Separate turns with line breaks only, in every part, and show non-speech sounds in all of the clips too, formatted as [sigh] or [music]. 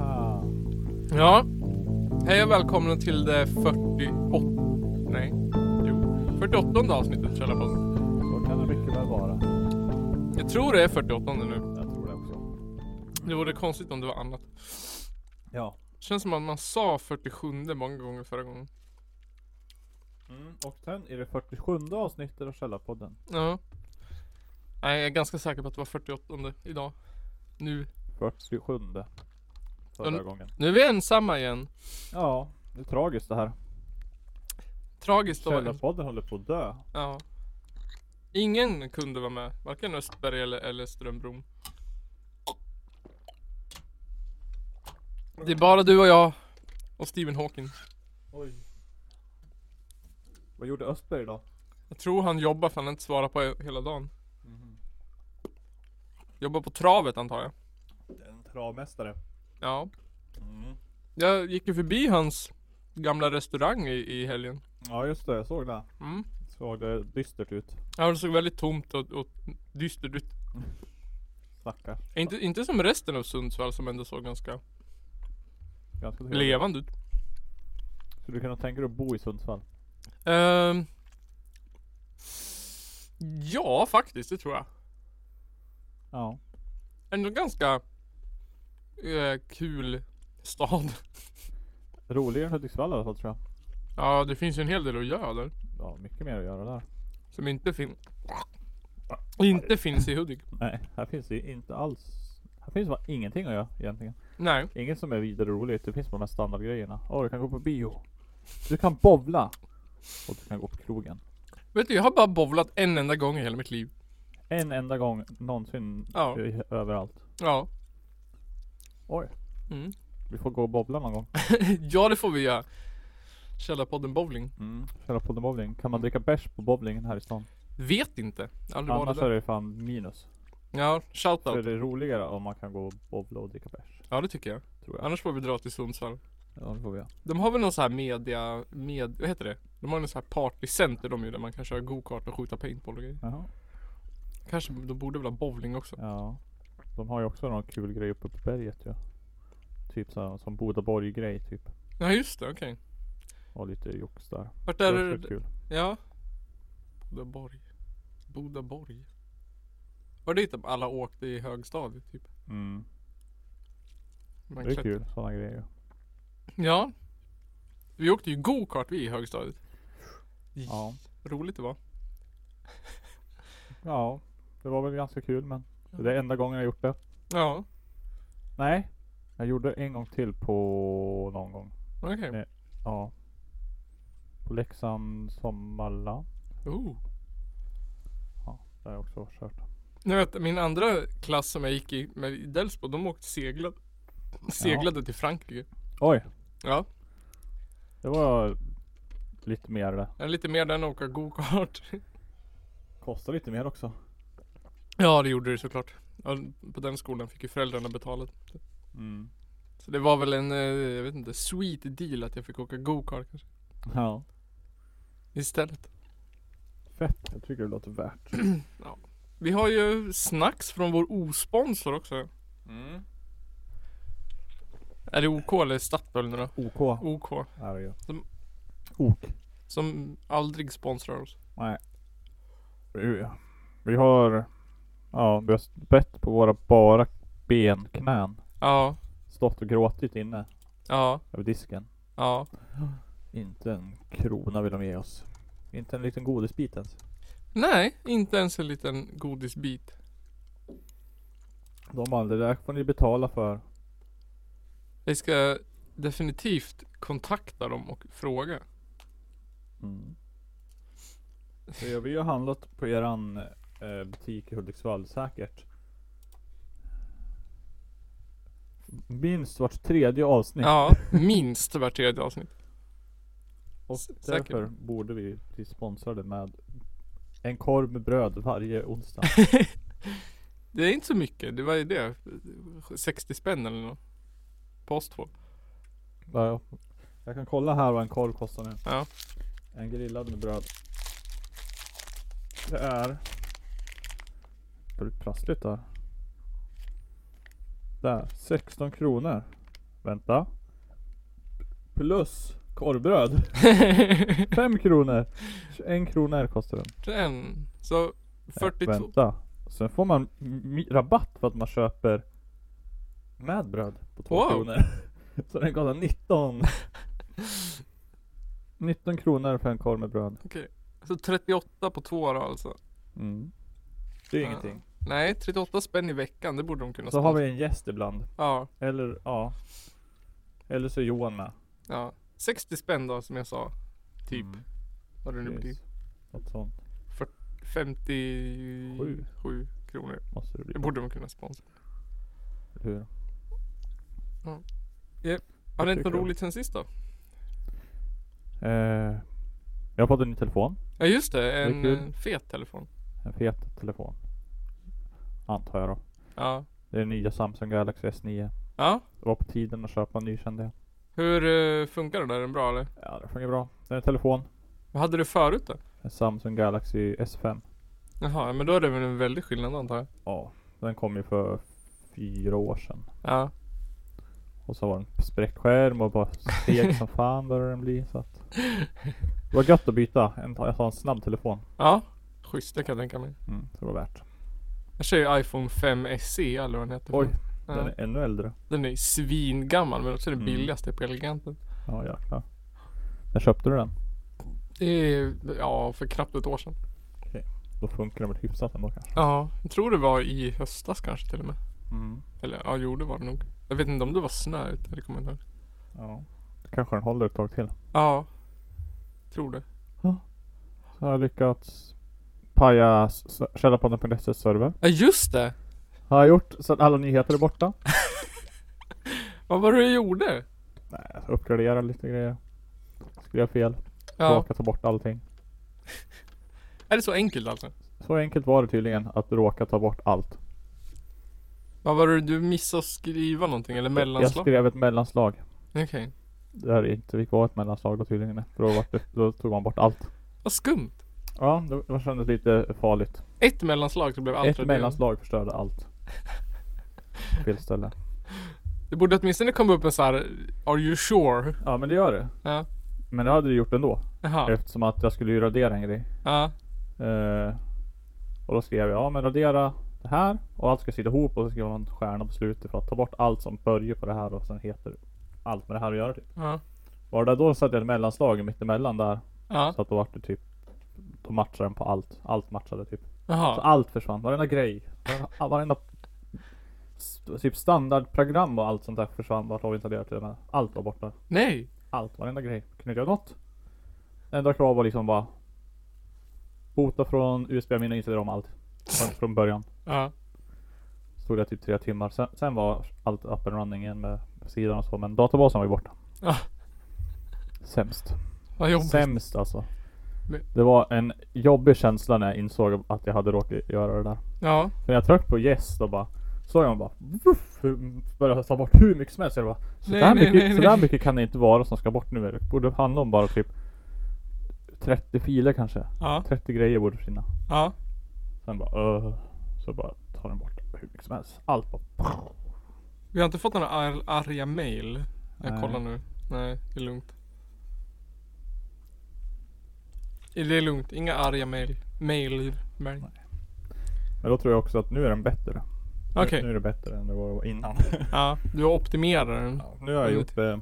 Ah,
Ja. Hej och välkomna till det 48... Nej. Jo. 48 avsnittet av Källarpodden.
Så kan det mycket väl vara.
Jag tror det är 48 nu.
Jag tror det också.
Det vore konstigt om det var annat.
Ja.
Känns som att man sa 47 många gånger förra gången.
Mm, Och sen är det 47 avsnittet av Källarpodden.
Ja. Nej, jag är ganska säker på att det var 48 idag. Nu.
47 förra
Mm.
gången.
Nu är vi ensamma igen.
Ja, det är tragiskt det här.
Tragiskt att vara ens-
Källarpodden håller på att dö.
Ja. Ingen kunde vara med. Varken Östberg eller, eller Strömbrom. Det är bara du och jag. Och Stephen Hawking.
Oj. Vad gjorde Östberg idag?
Jag tror han jobbar för han har inte svarar på he- hela dagen.
Mhm.
Jobbar på travet antar jag.
En travmästare.
Ja.
Mm.
Jag gick ju förbi hans gamla restaurang i, i helgen.
Ja just det, jag såg det.
Mm.
Såg det dystert ut.
Ja, det såg väldigt tomt och, och dystert ut.
Stackars.
Inte, inte som resten av Sundsvall som ändå såg ganska
Ganska trevligt.
levande ut.
Skulle du kunna tänka dig att bo i Sundsvall?
Ehm. ja, faktiskt. Det tror jag.
Ja.
Ändå ganska eh, kul stad.
Roligare än Hudiksvall i alla fall tror jag.
[laughs] Ja, det finns ju en hel del att göra där.
Ja, mycket mer att göra där.
Som inte finns. Inte finns i Hudik.
Nej, här finns det ju inte alls. Här finns bara ingenting att göra egentligen.
Nej.
Inget som är vidare roligt. Det finns bara de här standardgrejerna. Åh, du kan gå på bio. Du kan bovla. Och du kan gå på krogen.
Vet du, jag har bara bowlat en enda gång i hela mitt liv.
En enda gång någonsin
Ja.
i- överallt.
Ja.
Oj.
Mm. [laughs]
Vi får gå och bowla någon gång.
ja, det får vi göra. Källarpodden bowling.
Mm. Köra på bowling. Kan man dricka bärs på bowlingen här i stan?
Vet inte. Jag har Aldrig varit
Annars är
där.
det fan minus.
Ja,
För
shoutout.
det är roligare om man kan gå och bowla och dricka bärs.
Ja, det tycker jag.
Tror jag.
Annars får vi dra till Sundsvall.
Ja, det får vi göra.
De har väl någon sån här media, med, vad heter det? De har någon sån här partycenter de ju där man kan köra go-kart och skjuta paintball och grejer.
Jaha.
Kanske de borde väl ha bowling också?
Ja. De har ju också någon kul grej uppe på berget ju. Typ såhär som Bodaborg-grej typ.
Ja just det, okej.
Och lite jox där.
Vart
Det
är
är
det?
också kul.
Ja. Bodaborg. Bodaborg. Var det dit alla åkte i högstadiet typ?
Mm.
Man
Det är
klätt-
kul, sådana grejer.
Ja. Vi åkte ju go-kart vi i högstadiet.
Ja.
Roligt det var.
ja, det var väl ganska kul men det är enda gången jag gjort det.
Ja,
Nej, jag gjorde en gång till på någon gång.
okej.
Nej. Ja. På Leksand Sommarland
Oh.
där jag också har kört.
Jag vet, min andra klass som jag gick i med i Delsbo, de åkte seglade. Seglade till Frankrike.
Oj,
Ja,
det var lite mer det.
det är lite mer än att åka go-kart. [laughs]
Kostar lite mer också.
Ja, det gjorde det såklart. Ja, på den skolan fick ju föräldrarna betala.
Mm.
Så det var väl en, eh, jag vet inte, sweet deal att jag fick åka go-kart kanske.
Ja.
Istället.
Fett. Jag tycker det låter värt.
Vi har ju snacks från vår osponsor också. Är det OK eller Statoil nu då?
OK
OK.
är det ju.
De-
OK.
Som aldrig sponsrar oss.
Vi- Vi har, ja, vi har bett på våra bara benknän.
Ja,
Stått och gråtit inne
ja,
över disken.
ja.
Inte en krona vill de ge oss. Inte en liten godisbit ens.
Nej, inte ens en liten godisbit.
De bara, det där får ni betala för.
Vi ska definitivt kontakta dem och fråga.
Mm. Så ja, vi har handlat på eran eh, butik i Hudiksvall säkert. Minst vart tredje avsnitt.
Ja, minst vart tredje avsnitt.
och
s- säkert.
därför borde vi bli sponsrade med en korv med bröd varje
[laughs]
onsdag.
Det är inte så mycket. Det var ju det. 60 spänn eller något. På oss två.
Ja, ja. jag kan kolla här vad en korv kostar nu.
Ja.
En grillad med bröd. Det är... Det blir prassligt där. Där, 16 kronor. Vänta.
Plus korvbröd.
[laughs]
Fem kronor. En krona här kostar den.
Den. Så
Nej,
42.
Eh, Vänta. Sen får man mi- rabatt för att man köper med bröd på 2
Wow.
kronor. [laughs] Så den kostar
[laughs]
19. 19 kronor för en korv med bröd.
Så 38 på två då alltså.
Mm. Det är ju
Ja.
ingenting.
Nej, 38 spänn i veckan. Det borde de kunna
Så har
sponsra.
vi en gäst ibland.
Ja,
Eller ja. Eller så är Johan med.
ja. 60 spänn då som jag sa. Typ.
Mm,
Vad det nu blir.
precis. Något sånt
57 kronor.
måste det bli.
Det borde de kunna sponsra.
eller Hur?
Har det
Jag
inte något
tycker-
roligt sen sist då?
Eh, jag har fått en ny telefon.
Ja just det,
är
en
kul.
eh, fet telefon.
En fet telefon. Antar jag då.
Ja.
Det är den nya Samsung Galaxy S9.
Ja.
Det var på tiden att köpa en ny kände jag.
Hur eh, funkar den där? Är den bra eller?
Ja det fungerar bra. Det är en telefon.
Vad hade du förut då?
En Samsung Galaxy S5.
Jaha, men då är det väl en väldig skillnad antar jag.
Ja. Den kom ju för fyra år sedan.
Ja.
Och så var den spräckt skärm och bara seg [laughs] som fan började den bli. Så att. Det var gött att byta. En, jag har en snabb telefon.
Ja. Schysst, det kan jag tänka mig.
Mm, så det var värt.
Jag kör ju iPhone 5 SE eller vad den heter.
Oj,
ja.
den är ännu äldre.
den är ju svingammal men också den
Mm.
billigaste på Eleganten.
Ja jäklar. När köpte du den?
Det är, ja, för knappt ett år sedan.
Då funkar den väl hyfsat ändå kanske?
Ja, jag tror det var i höstas kanske till och med.
Mm.
Eller ja, jo det var det nog. Jag vet inte om det var snö ute, det kommer jag inte ihåg.
Ja. Kanske den håller ett tag till.
Ja. Tror det.
Så har jag lyckats paja s- s- källarpodden.se server.
Ja just det!
Har jag gjort så att alla nyheter är borta.
Vad var det du gjorde?
Nej, så uppgradera lite grejer. Skrev fel.
Ja.
Råkade ta bort allting.
Är det så enkelt alltså?
Så enkelt var det tydligen att råka ta bort allt.
Vad var det du missade att skriva någonting eller
Jag
mellanslag?
skrev ett mellanslag.
Okej.
Där det inte fick vara ett mellanslag då tydligen. nej. För då, var det, då tog man bort allt.
Vad skumt.
Ja, det var- kändes lite farligt.
Ett mellanslag så blev allt
ett
rätt.
mellanslag förstörde
[laughs]
allt. Fel ställe.
Det borde åtminstone komma upp en så här Are you sure?
Ja men det gör det.
Ja.
Men det hade det gjort ändå.
Jaha.
Eftersom att jag skulle ju radera en grej.
Ja.
Eh, och då skrev jag, ja men radera det här och allt ska sitta ihop och så skrev man en stjärna på slutet för att ta bort allt som börjar på det här och sen heter allt med det här att göra typ.
Ja.
Var det där då satte jag ett mellanslag mittemellan där.
Ja.
Så att då vart det typ Då matchade den på allt. Allt matchade typ. Så
Jaha.
allt försvann. Varenda grej. Varenda, varenda st- typ standardprogram och allt sånt där försvann. Vart avinstallerat till och med. Allt var borta.
Nej.
Allt, varenda grej. Kunde inte göra något. Det enda krav var liksom bara Bota från USB-minne och installera om allt. Från, från början.
Ja.
Stod det typ tre timmar. Sen, sen var allt up and running igen med sidan och så. Men databasen var ju borta.
Ja.
Sämst.
Vad Ah. jobbigt.
Sämst alltså.
Men-
Det var en jobbig känsla när jag insåg att jag hade råkat göra det där.
Ja.
För när jag tryckte på yes då bara såg jag bara vuff, började ta bort hur mycket som helst. Jag bara, så
Nej,
där
nej,
mycket,
nej,
så där
nej.
mycket kan det inte vara som ska bort nu. Det borde handla om bara typ 30 filer kanske.
Ja.
30 grejer borde försvinna.
Ja.
Sen bara öh. Så bara tar den bort hur mycket som helst. Allt bara.
Vi har inte fått några ar- arga mail. Jag
Nej.
kollar nu. Nej, det är lugnt. Det är lugnt. Inga arga mail. Mail. mail.
Men då tror jag också att nu är den bättre. Nu-
Okej.
Nu är det bättre än det var
[laughs]
innan.
Ja. Du optimerar den.
Ja, nu har jag gjort det.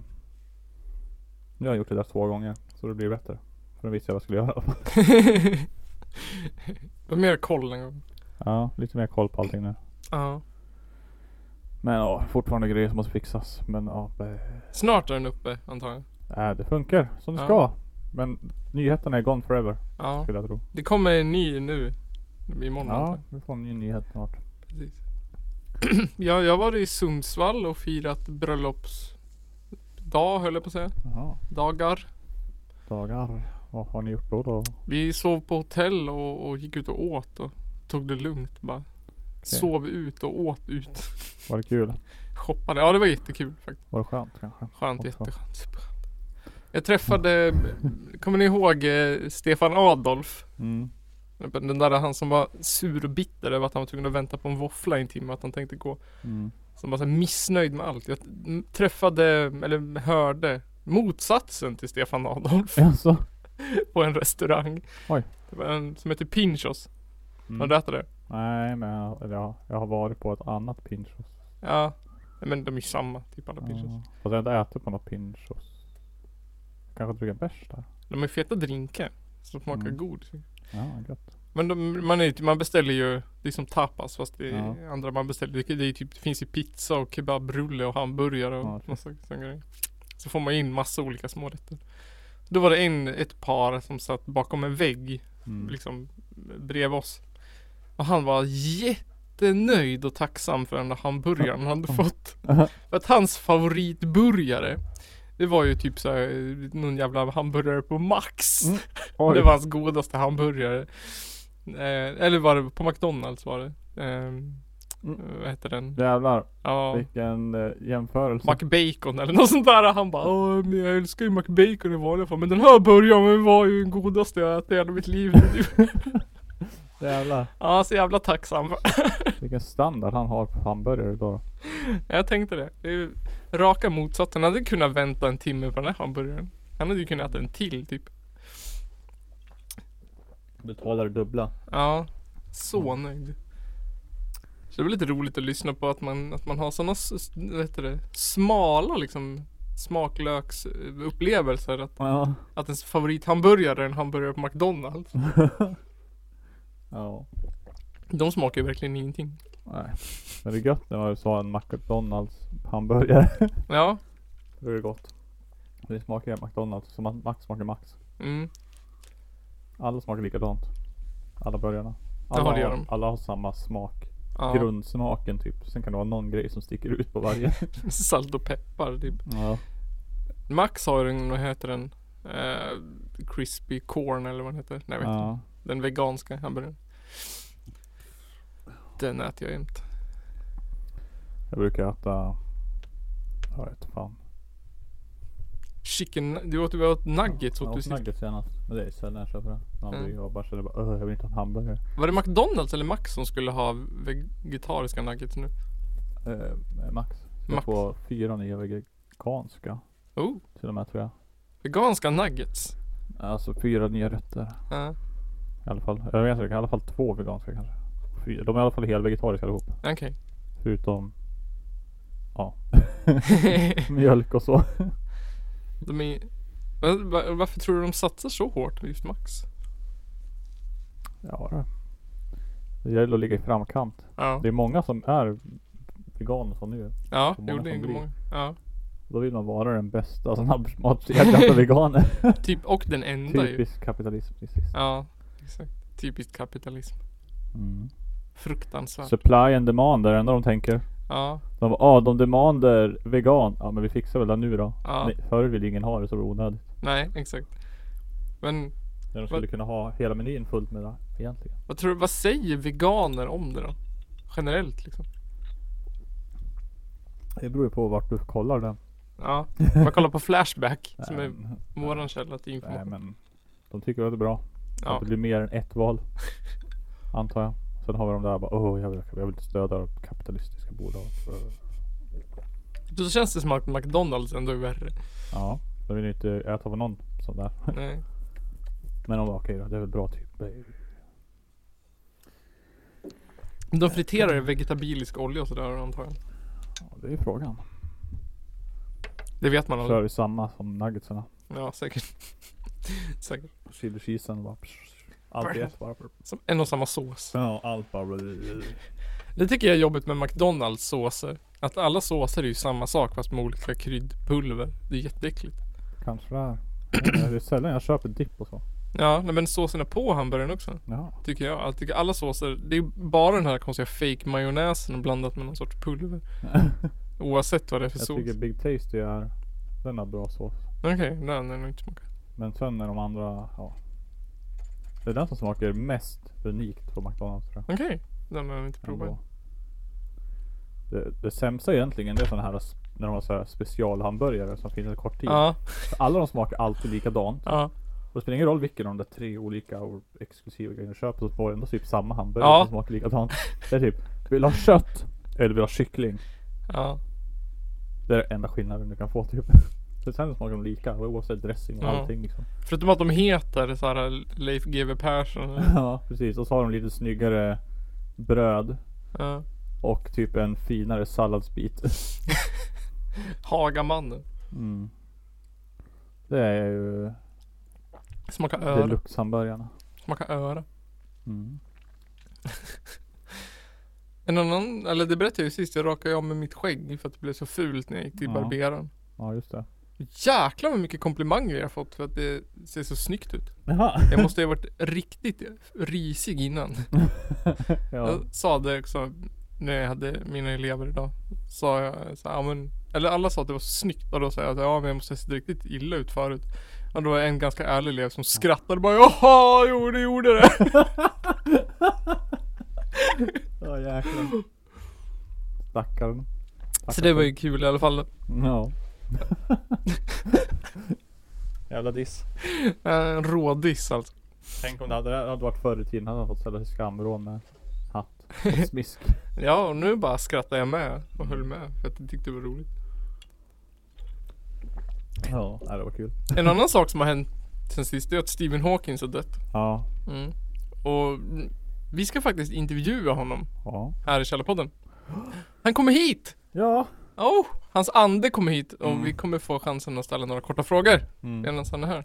Nu har jag gjort det där två gånger. Så det blir bättre. För då visste jag vad jag skulle göra. [laughs]
Du har mer koll en gång.
Ja, lite mer koll på allting nu.
Ja.
Men ja, fortfarande grejer som måste fixas. Men ja, det-
Snart är den uppe antar jag.
äh, det funkar som det
Ja.
ska. Men nyheterna är gone forever
Ja.
skulle jag tro.
Det kommer en ny nu. Imorgon antar jag.
Ja, vi får en ny nyhet snart.
Precis. ja, jag var i Sundsvall och firat bröllopsdag höll jag på att säga.
Jaha,
Dagar.
dagar. Vad har ni gjort då? då?
Vi sov på hotell och, och gick ut och åt och tog det lugnt bara. Sov ut och åt ut.
Var det kul?
Shoppade. Ja det var jättekul faktiskt.
Var det skönt kanske?
Skönt,
Också.
jätteskönt. Superskönt. Jag träffade, kommer ni ihåg eh, Stefan Adolf?
Mm.
Den där han som var sur och bitter över att han var tvungen att vänta på en våffla i en timme, att han tänkte gå.
Mm. [laughs]
Som var så här missnöjd med allt. Jag mm, träffade, eller hörde motsatsen till Stefan Adolf
Alltså.
på en restaurang.
Oj.
Det var en som heter Pinchos. Har
Mm.
du ätit det?
Nej men jag, eller jag, jag har varit på ett annat Pinchos.
Ja. Nej, Men de är ju samma, typ alla Pinchos.
Ja. Fast jag har inte ätit på något Pinchos. Kanske dricka en bärs där.
De är feta drinkar. Som smakar
Mm.
god.
Ja, gött.
Men de, man, är, ju- man beställer ju, det är som tapas fast det är
Ja.
andra man beställer. Det, det, är typ, det finns ju pizza och kebabrulle och hamburgare och
Ja, typ.
massa sådana grejer. Så får man in massa olika smårätter. Då var det en, ett par som satt bakom en vägg,
Mm.
liksom bredvid oss. Och han var jättenöjd och tacksam för den där hamburgaren han hade fått. För att hans favoritburgare, det var ju typ såhär, någon jävla hamburgare på Max.
Mm.
Och
Oj.
Det var hans godaste hamburgare. Eh, eller var det på McDonalds var det. Eh,
Mm.
Vad heter den?
Jävlar
Ja.
vilken eh, jämförelse.
McBacon eller något sånt där. Han bara Åh, men jag älskar ju McBacon i vanliga fall. Men den här burgaren var ju den godaste jag ätit i hela mitt liv. [laughs]
Jävlar.
ja, så jävla tacksam.
Vilken standard han har på hamburgare då. då.
jag tänkte det. Det är ju raka motsatsen. Han hade kunnat vänta en timme på den här hamburgaren. Han hade ju kunnat äta en till typ.
Betalar dubbla.
Ja, så nöjd. Så det var lite roligt att lyssna på att man, att man har sådana, vad heter det, smala liksom smaklöksupplevelser. Att,
Ja.
att ens favorithamburgare är en hamburgare på McDonalds.
Ja.
De smakar ju verkligen ingenting.
Nej. Men det är gött när man sa en McDonalds hamburgare.
Ja,
[laughs] det är gott. Det smakar ju McDonalds. Som att Max smakar Max.
mm,
Alla smakar likadant. Alla burgarna.
Ja,
Alla,
det gör
har-
de.
alla har samma smak.
ja.
Grundsmaken typ. Sen kan det vara någon grej som sticker ut på varje.
[laughs] Salt och peppar typ.
ja.
Max har ju den, vad heter den? Eh, crispy corn eller vad den heter. Nej, jag vet inte.
ja.
Den veganska hamburgaren. Den äter jag jämt.
Jag brukar äta. Jag vet fan.
Chicken, du åt, vi åt nuggets åt
jag
du
åt
sist.
nuggets senast. Men det är sällan jag köper det. När
Mm.
man blir jobbar så är det bara "Ugh, jag vill inte ha en hamburgare.
Var det McDonalds eller Max som skulle ha vegetariska nuggets nu?
Eh, max. Jag
Max.
får fyra nya veganska.
Oh,
Till och med tror jag.
veganska nuggets.
Alltså fyra nya rätter.
Ja,
I alla fall. Jag vet inte, i alla fall två veganska kanske. Fyra. De är i alla fall helt vegetariska allihop.
okej. [laughs]
Förutom [laughs] ja, mjölk och så.
de är... Men va- Varför tror du de satsar så hårt på just Max?
Ja det. Det gäller att ligga i framkant.
Ja,
Det är många som är veganer som nu.
ja,
många
jo det är
som blir.
många. Ja.
Då vill man vara den bästa snabbmatskedjan
[laughs]
för veganer.
Typ, och den enda ju.
Typisk kapitalism precis.
Ja, exakt. Typiskt kapitalism.
Mm.
Fruktansvärt.
Supply and demand är det enda de tänker.
Ja,
De bara, ah, de demander vegan. Ja men vi fixar väl det nu då.
ja.
Nej, förr ville ingen ha det så det var onödigt.
Nej, exakt. Men
När de skulle
Vad-
kunna ha hela menyn fullt med det egentligen.
vad tror du, vad säger veganer om det då? Generellt liksom.
Det beror ju på vart du kollar den.
Ja,
[laughs]
man kollar på Flashback som är
Nej,
våran källa till
nej
information.
men de tycker att det är bra.
Ja.
Det blir mer än ett
[laughs]
val. Antar jag. Sen har vi de där bara åh jag, vill, jag vill inte stödja kapitalistiska bolag.
Då känns det som att McDonalds ändå
[laughs]
är värre.
Ja. De vill ju inte äta på någon sån där.
Nej.
Men de bara okej då, det är väl bra typ.
De friterar i vegetabilisk olja och sådär antagligen.
Ja, det är ju frågan.
Det vet man
Kör
aldrig.
ju samma som nuggetsarna.
Ja, säkert. [laughs] säkert.
Chili cheesen bara. psh, Allt i ett bara.
Som en och samma sås.
Ja allt bara.
Det tycker jag är jobbigt med McDonalds såser. Att alla såser är ju samma sak fast med olika kryddpulver. Det är jätteäckligt.
Kanske det är. Eh, Det är sällan jag köper dipp och så.
Ja, nej, men såserna på hamburgaren också.
[laughs] Ja.
Tycker jag. Jag tycker alla såser. Det är ju bara den här konstiga fake majonnäsen blandat med någon sorts pulver. Oavsett vad det är för
Jag
sås.
tycker Big Tasty är den har bra sås.
Okej, den är nog inte smakad.
Men sen är de andra, ja. Det är den som smakar mest unikt på McDonalds tror jag.
Okej, den behöver vi inte prova.
Ändå. Det, det sämsta egentligen det är sådana här s- när de har så här specialhamburgare som finns en kort tid.
Ja,
För Alla de smakar alltid likadant.
ja.
Och det spelar ingen roll vilken av de där tre olika och exklusiva grejerna du köper så får du ändå typ samma hamburgare
Ja.
som smakar likadant. Det är typ, vill du ha kött? Eller vill du ha kyckling?
Ja.
Det är den enda skillnaden du kan få
[laughs]
typ. Så sen smakar de lika oavsett dressing och
Ja.
allting liksom.
Förutom att de heter så här Leif GW Persson. eller-
[laughs] Ja precis. Och så har de lite snyggare bröd
Ja.
och typ en finare
[laughs]
salladsbit.
Hagamannen.
Mm. Det är ju
Smakar öra.
deluxe-hamburgarna.
Smakar öra.
Mm.
En annan, eller det berättade jag ju sist, jag rakade ju av med mitt skägg för att det blev så fult när jag gick till
Ja.
barberaren.
Ja just det.
Jäklar vad mycket komplimanger jag har fått för att det ser så snyggt ut.
Jaha.
Jag måste ju ha varit riktigt risig innan.
[laughs] ja.
Jag sa det också när jag hade mina elever idag. Sa jag så här, ja, men, eller alla sa att det var snyggt och då sa jag att ja men jag måste ha sett riktigt illa ut förut. Och då var det en ganska ärlig elev som skrattade bara jaha jo det gjorde det.
Ja jäklar. Stackarn.
Så det var ju kul i alla fall. Eh,
Ja.
[laughs]
Jävla diss.
En rådiss alltså.
Tänk om det hade, det hade varit förr i tiden hade han fått ställa sig i skamvrån med hatt
[laughs]
och smisk.
Ja och nu bara skrattade jag med och höll med för att jag tyckte det var roligt.
ja, nej, det var kul.
En annan sak som har hänt sen sist det är att Stephen Hawkins har dött.
Ja.
Mm. Och mm, vi ska faktiskt intervjua honom
Ja.
här i Källarpodden. Han kommer hit!
Ja.
Oh, hans ande kommer hit och
Mm.
vi kommer få chansen att ställa några korta frågor
Mm.
medan han är här.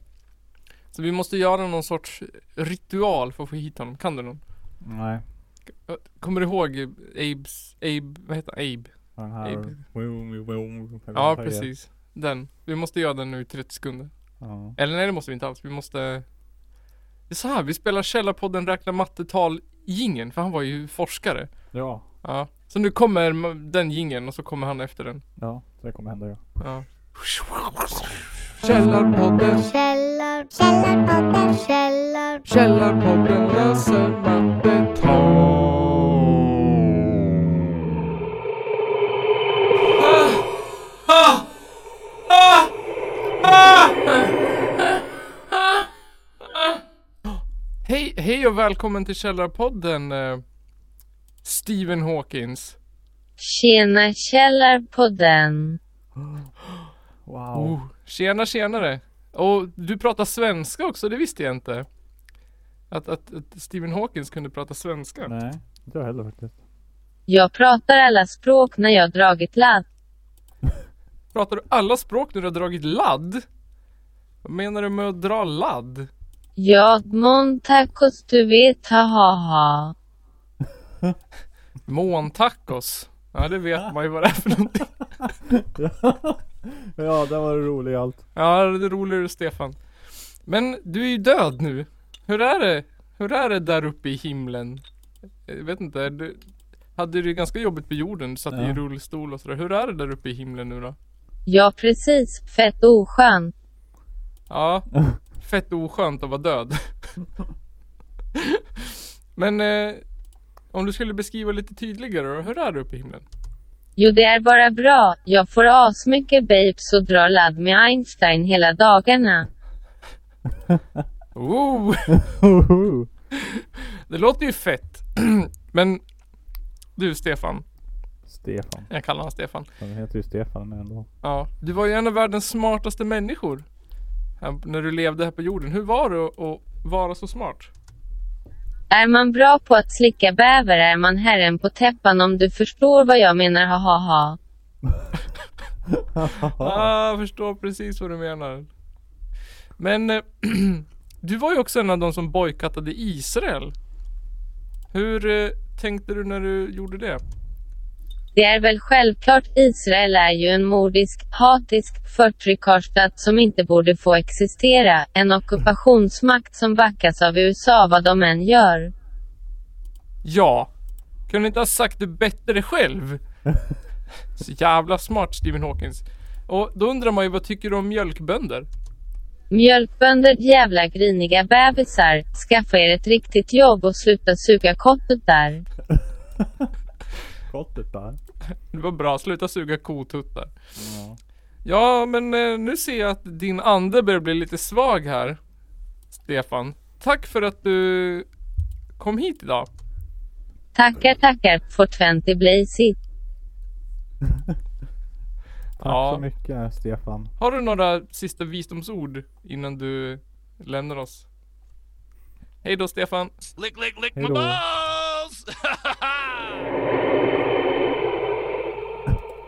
Så vi måste göra någon sorts ritual för att få hit honom. Kan du någon?
Nej.
Kommer du ihåg Abes, Abe, vad heter han? Abe?
Den här.
Ja, precis. Den. Vi måste göra den nu i 30 sekunder.
Ja.
Eller nej, det måste vi inte alls. Vi måste... Det är så här, vi spelar Källarpodden räkna mattetal gingen för han var ju forskare.
Ja.
Ja. Så nu kommer ma- den gingen och så kommer han efter den.
Ja, det kommer hända ja.
Ja.
Källarpodden,
Källar, källarpodden, källar,
Källarpodden läser mattetal.
Hej, hej och välkommen till Källarpodden eh, Stephen Hawkins.
Tjena Källarpodden!
Wow.
Oh, tjena tjenare. Och du pratar svenska också, det visste jag inte. Att, att, att Stephen Hawkins kunde prata svenska.
Nej, inte jag heller faktiskt.
Jag pratar alla språk när jag dragit ladd.
Pratar du alla språk när du har dragit ladd? Vad menar du med att dra ladd?
Jag montacos du vet ha ha ha.
Måntacos? Ja det vet man ju vad det är för någonting.
ja, det var det roliga allt.
Ja det är roligare Stefan. Men du är ju död nu. Hur är det? Hur är det där uppe i himlen? Jag vet inte. Du hade det ganska jobbigt på jorden. Du satt i
Ja.
rullstol och sådär. Hur är det där uppe i himlen nu då?
Ja precis, fett oskönt.
Ja. Fett oskönt att vara död. [laughs] Men eh, om du skulle beskriva lite tydligare då. Hur är det uppe i himlen?
Jo det är bara bra, jag får asmycket babes och drar ladd med Einstein hela dagarna.
Oh, det låter ju fett. [clears throat] Men du Stefan.
[laughs] Stefan.
Jag kallar honom Stefan.
Han heter ju Stefan men ändå.
Ja, du var ju en av världens smartaste människor. här- När du levde här på jorden. Hur var det att- att vara så smart?
Är man bra på att slicka bäver är man herren på täppan om du förstår vad jag menar ha ha ha.
Ah, jag förstår precis vad du menar. Men eh, [clears throat] du var ju också en av de som bojkottade Israel. Hur eh, tänkte du när du gjorde det?
Det är väl självklart Israel är ju en mordisk, hatisk förtryckarstat som inte borde få existera, en ockupationsmakt som backas av USA vad de än gör.
Ja. Kunde inte ha sagt det bättre själv. Så jävla smart Stephen Hawkins. Och då undrar man ju vad tycker du om mjölkbönder?
Mjölkbönder, jävla griniga bebisar, skaffa er ett riktigt jobb och sluta suga kottet där.
Kottet där.
Det var bra, sluta suga kotuttar.
Ja.
Ja, men eh, nu ser jag att din ande börjar bli lite svag här. Stefan. Tack för att du kom hit idag.
Tackar tackar, for 20 blaze hit.
Tack
Ja.
så mycket Stefan.
Har du några sista visdomsord innan du lämnar oss? Hej då Stefan!
Lick, lick, lick
Hej då.
my balls!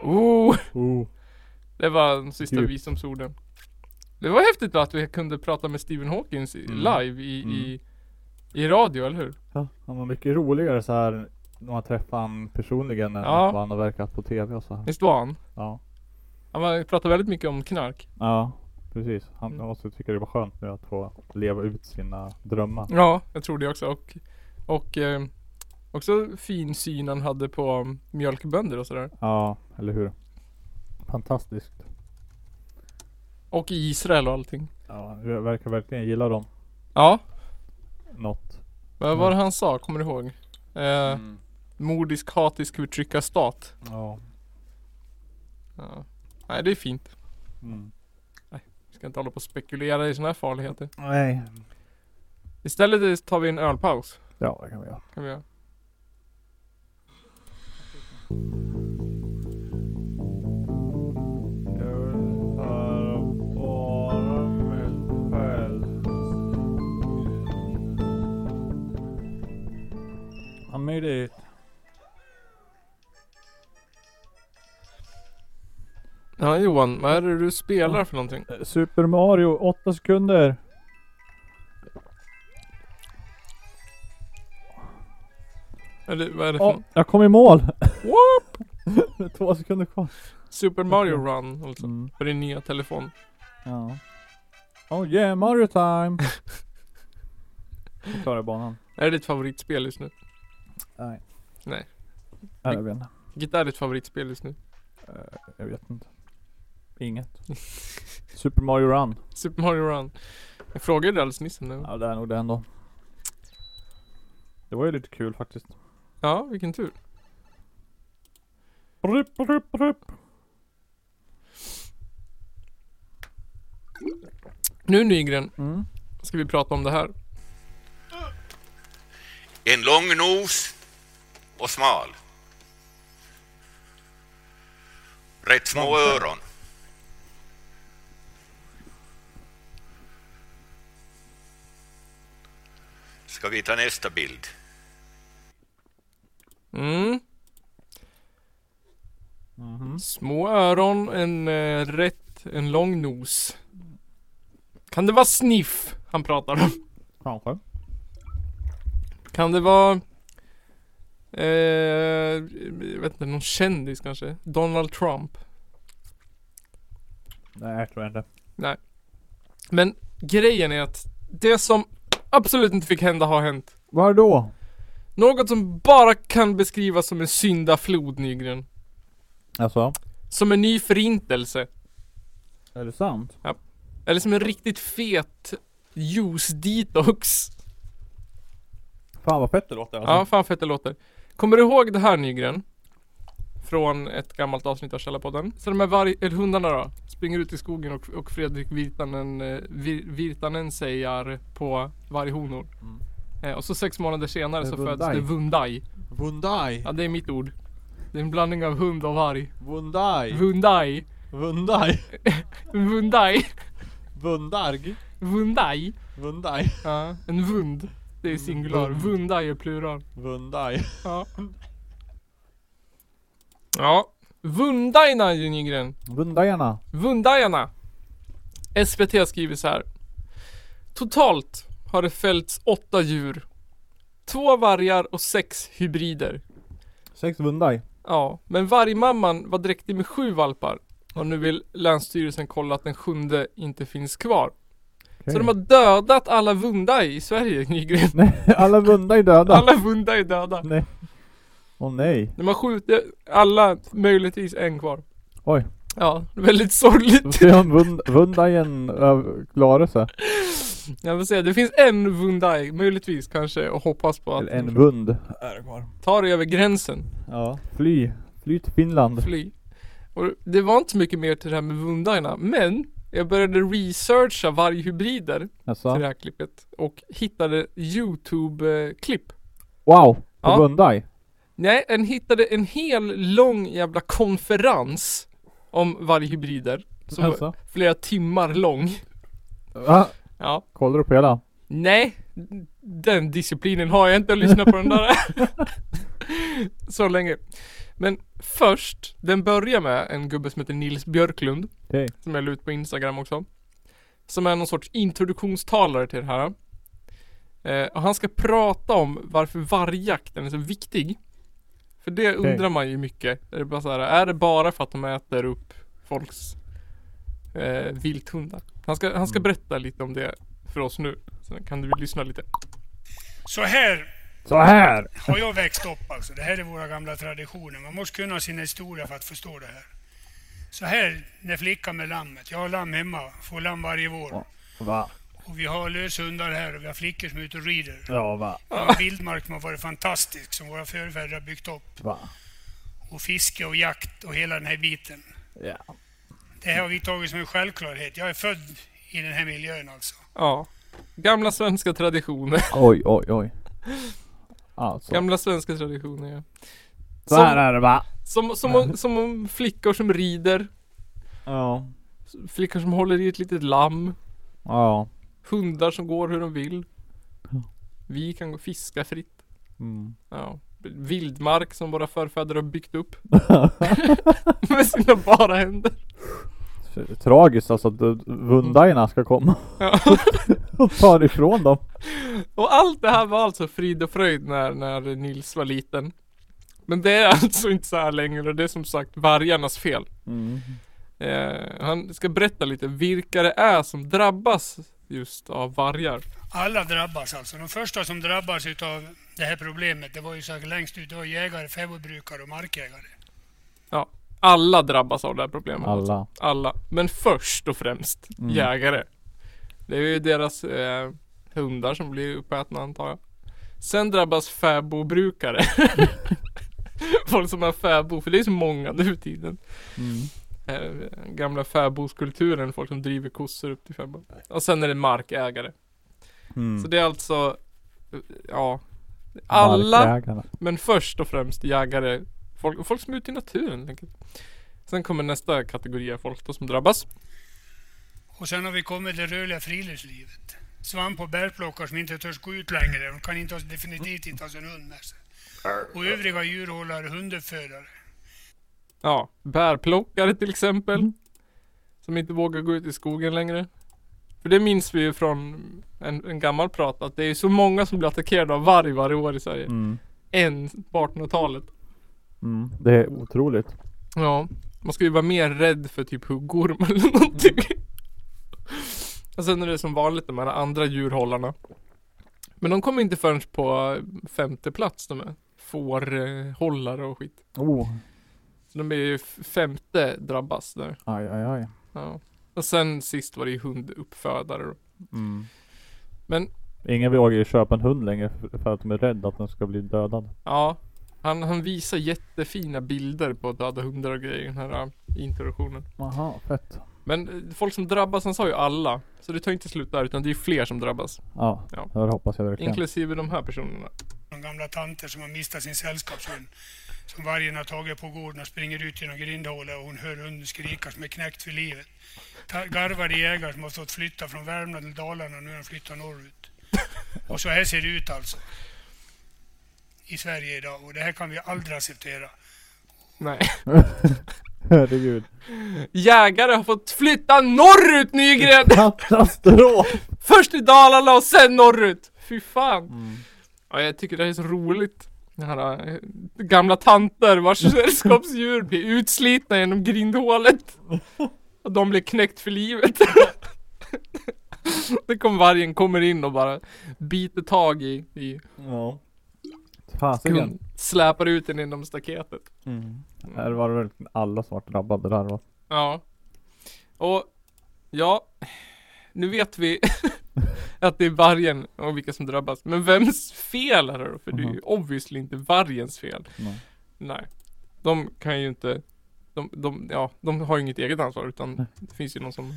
Oh,
Oh,
det var de sista
Djupt.
visdomsorden. Det var häftigt va, att vi kunde prata med Stephen Hawkins i-
Mm.
live i, i, i radio, eller hur?
ja, han var mycket roligare så här när man träffar han personligen än
Ja.
vad han har verkat på tv och så här.
Visst var han?
Ja,
Han var- pratade väldigt mycket om knark.
ja precis. Han
Mm.
måste tycka det var skönt nu att få leva ut sina drömmar.
Ja, jag tror det också. Och, och eh, också fin syn han hade på um, mjölkbönder och sådär.
Ja, eller hur? Fantastiskt.
Och i Israel och allting.
Ja, jag verkar verkligen gilla dem.
Ja, Mm.
Något.
vad var det han sa? Kommer du ihåg? Eh,
Mm.
Mordisk, hatisk förtryckarstat.
Ja.
Ja. Nej, det är fint.
Mm.
Vi ska inte hålla på och spekulera i sådana här farligheter.
Nej.
Istället tar vi en ölpaus.
Ja, det kan vi göra.
Kan vi göra.
Jag vill höra bara mig själv. Han made it.
Ja Johan, vad är det du spelar för någonting?
Super Mario, 8 sekunder.
Eller vad är det för?
Åh, jag kom i mål!
What?
[laughs] Det är Två sekunder kvar.
Super Mario Run alltså.
Mm.
På din nya telefon.
Ja. Oh yeah, Mario
[laughs]
time! Jag klarar banan.
Är det ditt favoritspel just nu?
Nej.
Nej.
Nej, Äh, jag vet inte.
Vilket är ditt favoritspel just nu?
Jag vet inte. Inget. Super Mario Run.
Super Mario Run. Jag frågade dig alldeles nyss om det.
Ja det är nog det ändå. Det var ju lite kul faktiskt.
Ja, vilken tur.
Rup, rup, rup.
Nu Nygren,
Mm.
ska vi prata om det här.
En lång nos och smal. Rätt små öron. Ska vi ta nästa bild?
Mm.
Mhm.
Små öron, en eh, rätt, en lång nos. Kan det vara sniff han pratar om?
Kanske.
Kan det vara... Eh, jag vet inte, någon kändis kanske? Donald Trump?
Nej jag tror inte.
Men grejen är att det som absolut inte fick hända har hänt.
Var då?
Något som bara kan beskrivas som en syndaflod Nygren.
Alltså?
Som en ny förintelse.
Är det sant?
Eller som en riktigt fet juice detox.
Alltså. Fan vad fett det låter alltså.
Ja, fan fett det låter. Kommer du ihåg det här Nygren? Från ett gammalt avsnitt av Källarpodden. Så de här varg, eller hundarna då, springer ut i skogen och, och Fredrik Virtanen, eh, Vir, Virtanen säger på varghonor.
Mm.
Eh, och så sex månader senare
Eh,
så
Vundai.
föds det Vundai.
Vundai,
Ja, det är mitt ord. Det är en blandning av hund och varg.
Vundai,
Vundai.
Vundai,
Vundai.
Vundarg,
Vundai.
Vundai,
Ja, en vund. Det är singular.
Vund.
Vundai är plural.
Vundai.
Ja. Ja. Vundaina Nygren.
Vundajarna.
Vundajarna. SVT skriver så här. Totalt har det fällts åtta djur. Två vargar och sex hybrider.
Sex Vundaj.
Ja, men vargmamman var dräktig med sju valpar. Och nu vill Länsstyrelsen kolla att den sjunde inte finns kvar.
Okej.
Så de har dödat alla Vundai i Sverige, [laughs] Nygren.
[laughs] Nej, alla Vundaj döda.
Alla Vundai är döda.
Nej. Åh nej.
De har skjutit alla, möjligtvis en kvar.
Oj.
Ja, väldigt
Får
sorgligt.
[laughs] se om vund, Vundajen ö- klarar sig.
Jag vill säga, det finns en Vundai, möjligtvis kanske, och hoppas på att
Eller en Vund.
ta dig över gränsen,
Ja. Fly. Fly till Finland.
fly. Och det var inte så mycket mer till det här med Vundaina, men jag började researcha varghybrider
Alltså.
till det här klippet och hittade YouTube-klipp.
Wow. På
Ja.
Vundaj.
Nej, den hittade en hel lång jävla konferens om varghybrider. Som var
Alltså.
flera timmar lång.
Ah,
Ja.
kollar du på hela?
Nej, den disciplinen har jag inte att lyssna på den där. [laughs] Så länge. Men först, den börjar med en gubbe som heter Nils Björklund.
Okej.
Som jag la ut på Instagram också. Som är någon sorts introduktionstalare till det här. Eh, och han ska prata om varför vargjakten är så viktig. För det
Okej.
undrar man ju mycket. Är det bara, så här, är det bara för att de äter upp folks eh, vilthundar? Han ska, han ska berätta lite om det för oss nu. Sen kan du lyssna lite.
Så här
Så här!
har jag växt upp alltså. Det här är våra gamla traditioner. Man måste kunna sin historia för att förstå det här. Så här när flickan med lammet. Jag har lamm hemma. Får lamm varje vår.
Va?
Och vi har löshundar här och vi har flickor som är ute och rider.
Ja, va?
Vi har en vildmark som har varit fantastisk som våra förfäder har byggt upp.
Va?
Och fiske och jakt och hela den här biten.
Ja.
Det här har vi tagit som en självklarhet. Jag är född i den här miljön alltså.
Ja. Gamla svenska traditioner.
Oj, oj, oj. Alltså.
Gamla svenska traditioner ja.
Så här är det va?
Som, som, om- som om flickor som rider.
Ja.
Flickor som håller i ett litet lamm.
Ja.
Hundar som går hur de vill. Vi kan gå och fiska fritt.
Mm.
Ja. Vildmark som våra förfäder har byggt upp. Med sina bara händer.
Tragiskt alltså att eh, Vundajerna ska komma
Ja.
[laughs] och ta ifrån
[laughs]
dem.
Och allt det här var alltså frid och fröjd när, när Nils var liten. Men det är alltså inte så här längre och det är som sagt vargarnas fel.
Mm.
Eh, han ska berätta lite vilka det är som drabbas just av vargar.
Alla drabbas alltså. De första som drabbas utav det här problemet, det var ju säkert längst ut, det var jägare, fäbodbrukare och markägare.
Ja, alla drabbas av det här problemet. alltså.
Alla.
Alla. Men först och främst jägare. Det är ju deras eh, hundar som blir uppätna antar jag. Sen drabbas fäbodbrukare. [laughs] Folk som har fäbo, för det är så många nu i tiden. Eh, gamla fäbodskulturen, folk som driver kossor upp till fäbod. Och sen är det markägare.
Mm.
Så det är alltså, eh, ja. Alla
Markägarna.
men först och främst jägare, folk, folk som är ute i naturen helt enkelt. Sen kommer nästa kategori av folk då som drabbas.
Och sen har vi kommit det rörliga friluftslivet. Svamp och bärplockare som inte törs gå ut längre. De kan inte ha, definitivt inte ha sin hund med sig. Och övriga djurhållare, hunduppfödare.
Ja, bärplockare till exempel. Som inte vågar gå ut i skogen längre. För det minns vi ju från en, en gammal prat att det är så många som blir attackerade av varg varje år i Sverige.
Mm.
Än på 1800-talet.
Mm. Det är otroligt.
Ja, man ska ju vara mer rädd för typ huggorm eller någonting. Och sen är det som vanligt de här andra djurhållarna. Men de kommer inte förrän på femte plats de här. Fårhållare och skit.
Oh.
Så de är ju f- femte drabbas där.
Aj, aj, aj.
Ja. Och sen sist var det ju hunduppfödare då.
Mm.
Men-
Ingen vågar ju köpa en hund längre för- för att de är rädda att den ska bli dödad.
Ja. Han, han visar jättefina bilder på döda hundar och grejer i den här äh, introduktionen.
Aha, fett.
Men eh, folk som drabbas, han sa ju alla. Så det tar inte slut där utan det är ju fler som drabbas.
Ja,
Ja.
det hoppas jag verkligen.
Inklusive de här personerna.
De gamla tanter som har mistat sin sällskapshund. Som vargen har tagit på gården och springer ut genom grindhålet och hon hör hunden skrika som är knäckt för livet. Ta- Garvade jägare som har fått flytta från Värmland till Dalarna och nu har de flyttat norrut. Och så här ser det ut alltså. I Sverige idag och det här kan vi aldrig acceptera.
Nej.
[laughs]
[laughs]
Herregud.
Jägare har fått flytta norrut Nygren!
Katastrof!
Först till Dalarna och sen norrut! Fy fan.
Mm.
Ja, jag tycker det här är så roligt. Det här, eh, gamla tanter vars sällskapsdjur blir utslitna genom grindhålet. Och de blir knäckt för livet. Det kommer vargen, kommer in och bara biter tag i, i
ja. Fasiken.
hund, släpar ut den inom staketet.
Mm. Här var det väl alla som var drabbade där va?
Ja. Och ja, nu vet vi [laughs] att det är vargen och vilka som drabbas. Men vems fel är det då? För det är ju obviously inte vargens fel.
Nej.
Nej. De kan ju inte, de, de, ja, de har ju inget eget ansvar utan det finns ju någon som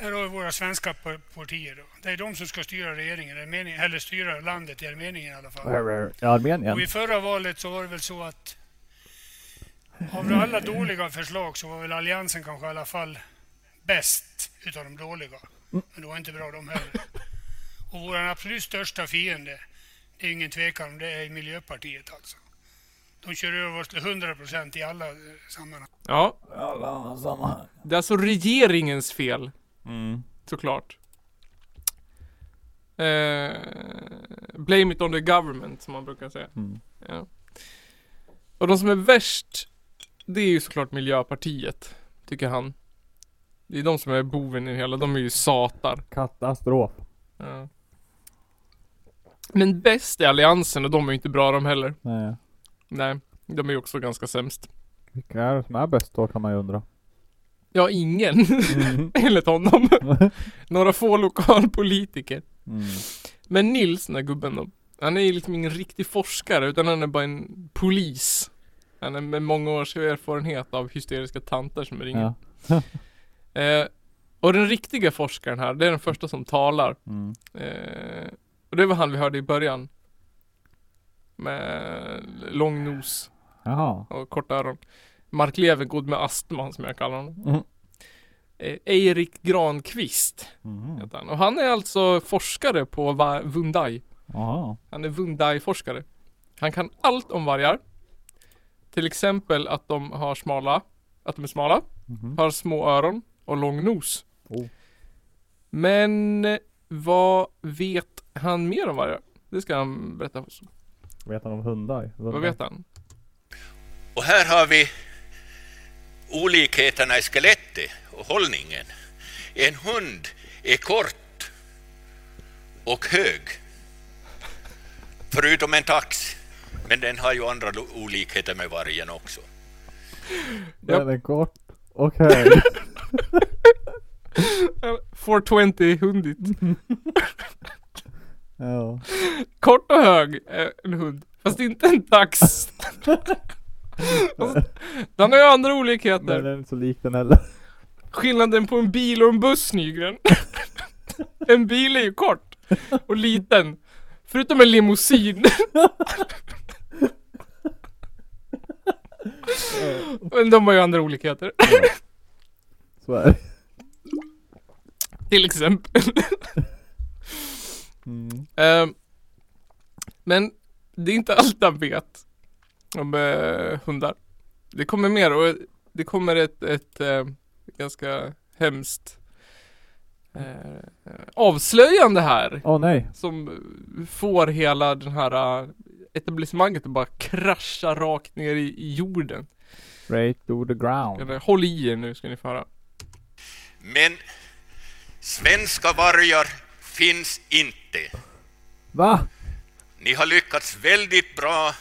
Här har vi våra svenska par- partier. Då. Det är de som ska styra regeringen, är meningen, eller styra landet i Armenien i alla fall.
I Armenien?
Och i förra valet så var det väl så att av alla dåliga förslag så var väl Alliansen kanske i alla fall bäst utav de dåliga. Men det var inte bra de heller. Och vår absolut största fiende, det är ingen tvekan om det, är Miljöpartiet alltså. De kör över oss till 100 procent i alla eh, sammanhang.
Ja,
Alla samma.
det är alltså regeringens fel.
Mm.
Såklart. Eh, blame it on the government som man brukar säga.
Mm.
Ja. Och de som är värst, det är ju såklart Miljöpartiet, tycker han. Det är de som är boven i det hela, de är ju satar.
Katastrof.
Ja. Men bäst är Alliansen och de är ju inte bra de heller.
Nej.
Nej, de är ju också ganska sämst.
Vilka är det som är bäst då kan man ju undra.
Ja, ingen. [laughs]
Mm.
Enligt honom. Några få lokalpolitiker.
Mm.
Men Nils, den där gubben då, han är ju liksom ingen riktig forskare utan han är bara en polis. Han är med många års erfarenhet av hysteriska tanter som ringer.
Ja.
Eh, och den riktiga forskaren här, det är den första som talar.
Mm.
Eh, och det var han vi hörde i början. Med lång nos
Jaha.
och korta öron. Mark Levengood med astma som jag kallar honom.
Mm.
Eh, Erik Granqvist
Mm.
heter han. Och han är alltså forskare på Va- Vundai.
Jaha.
Han är Wundai-forskare. Han kan allt om vargar. Till exempel att de har smala, att de är smala,
Mhm.
har små öron och lång nos.
Oh.
Men eh, vad vet han mer om vargar? Det ska han berätta för oss.
Vet han om hundar?
Vad vet han?
Och här har vi olikheterna i skelettet och hållningen. En hund är kort och hög, förutom en tax. Men den har ju andra lo- olikheter med vargen också.
Den är kort.
[laughs]
Okej.
420-hundigt.
ja.
Kort och hög är en hund. Fast inte en
[laughs]
tax. Alltså, Den har ju andra olikheter.
Men den är inte så lik den heller.
Skillnaden på en bil och en buss Nygren. [laughs] en bil är ju kort och liten. Förutom en limousin. [laughs] Men de har ju andra olikheter.
Så är det.
Till exempel.
Mm.
Ehm, men det är inte allt han vet om eh, hundar. Det kommer mer och det kommer ett, ett eh, ganska hemskt eh, avslöjande här.
Åh nej.
Som eh, får hela den här eh, etablissemanget att bara krascha rakt ner i, i jorden.
Right to the ground.
Eller, Håll i er nu ska ni få höra.
Men svenska vargar finns inte.
Va?
Ni har lyckats väldigt bra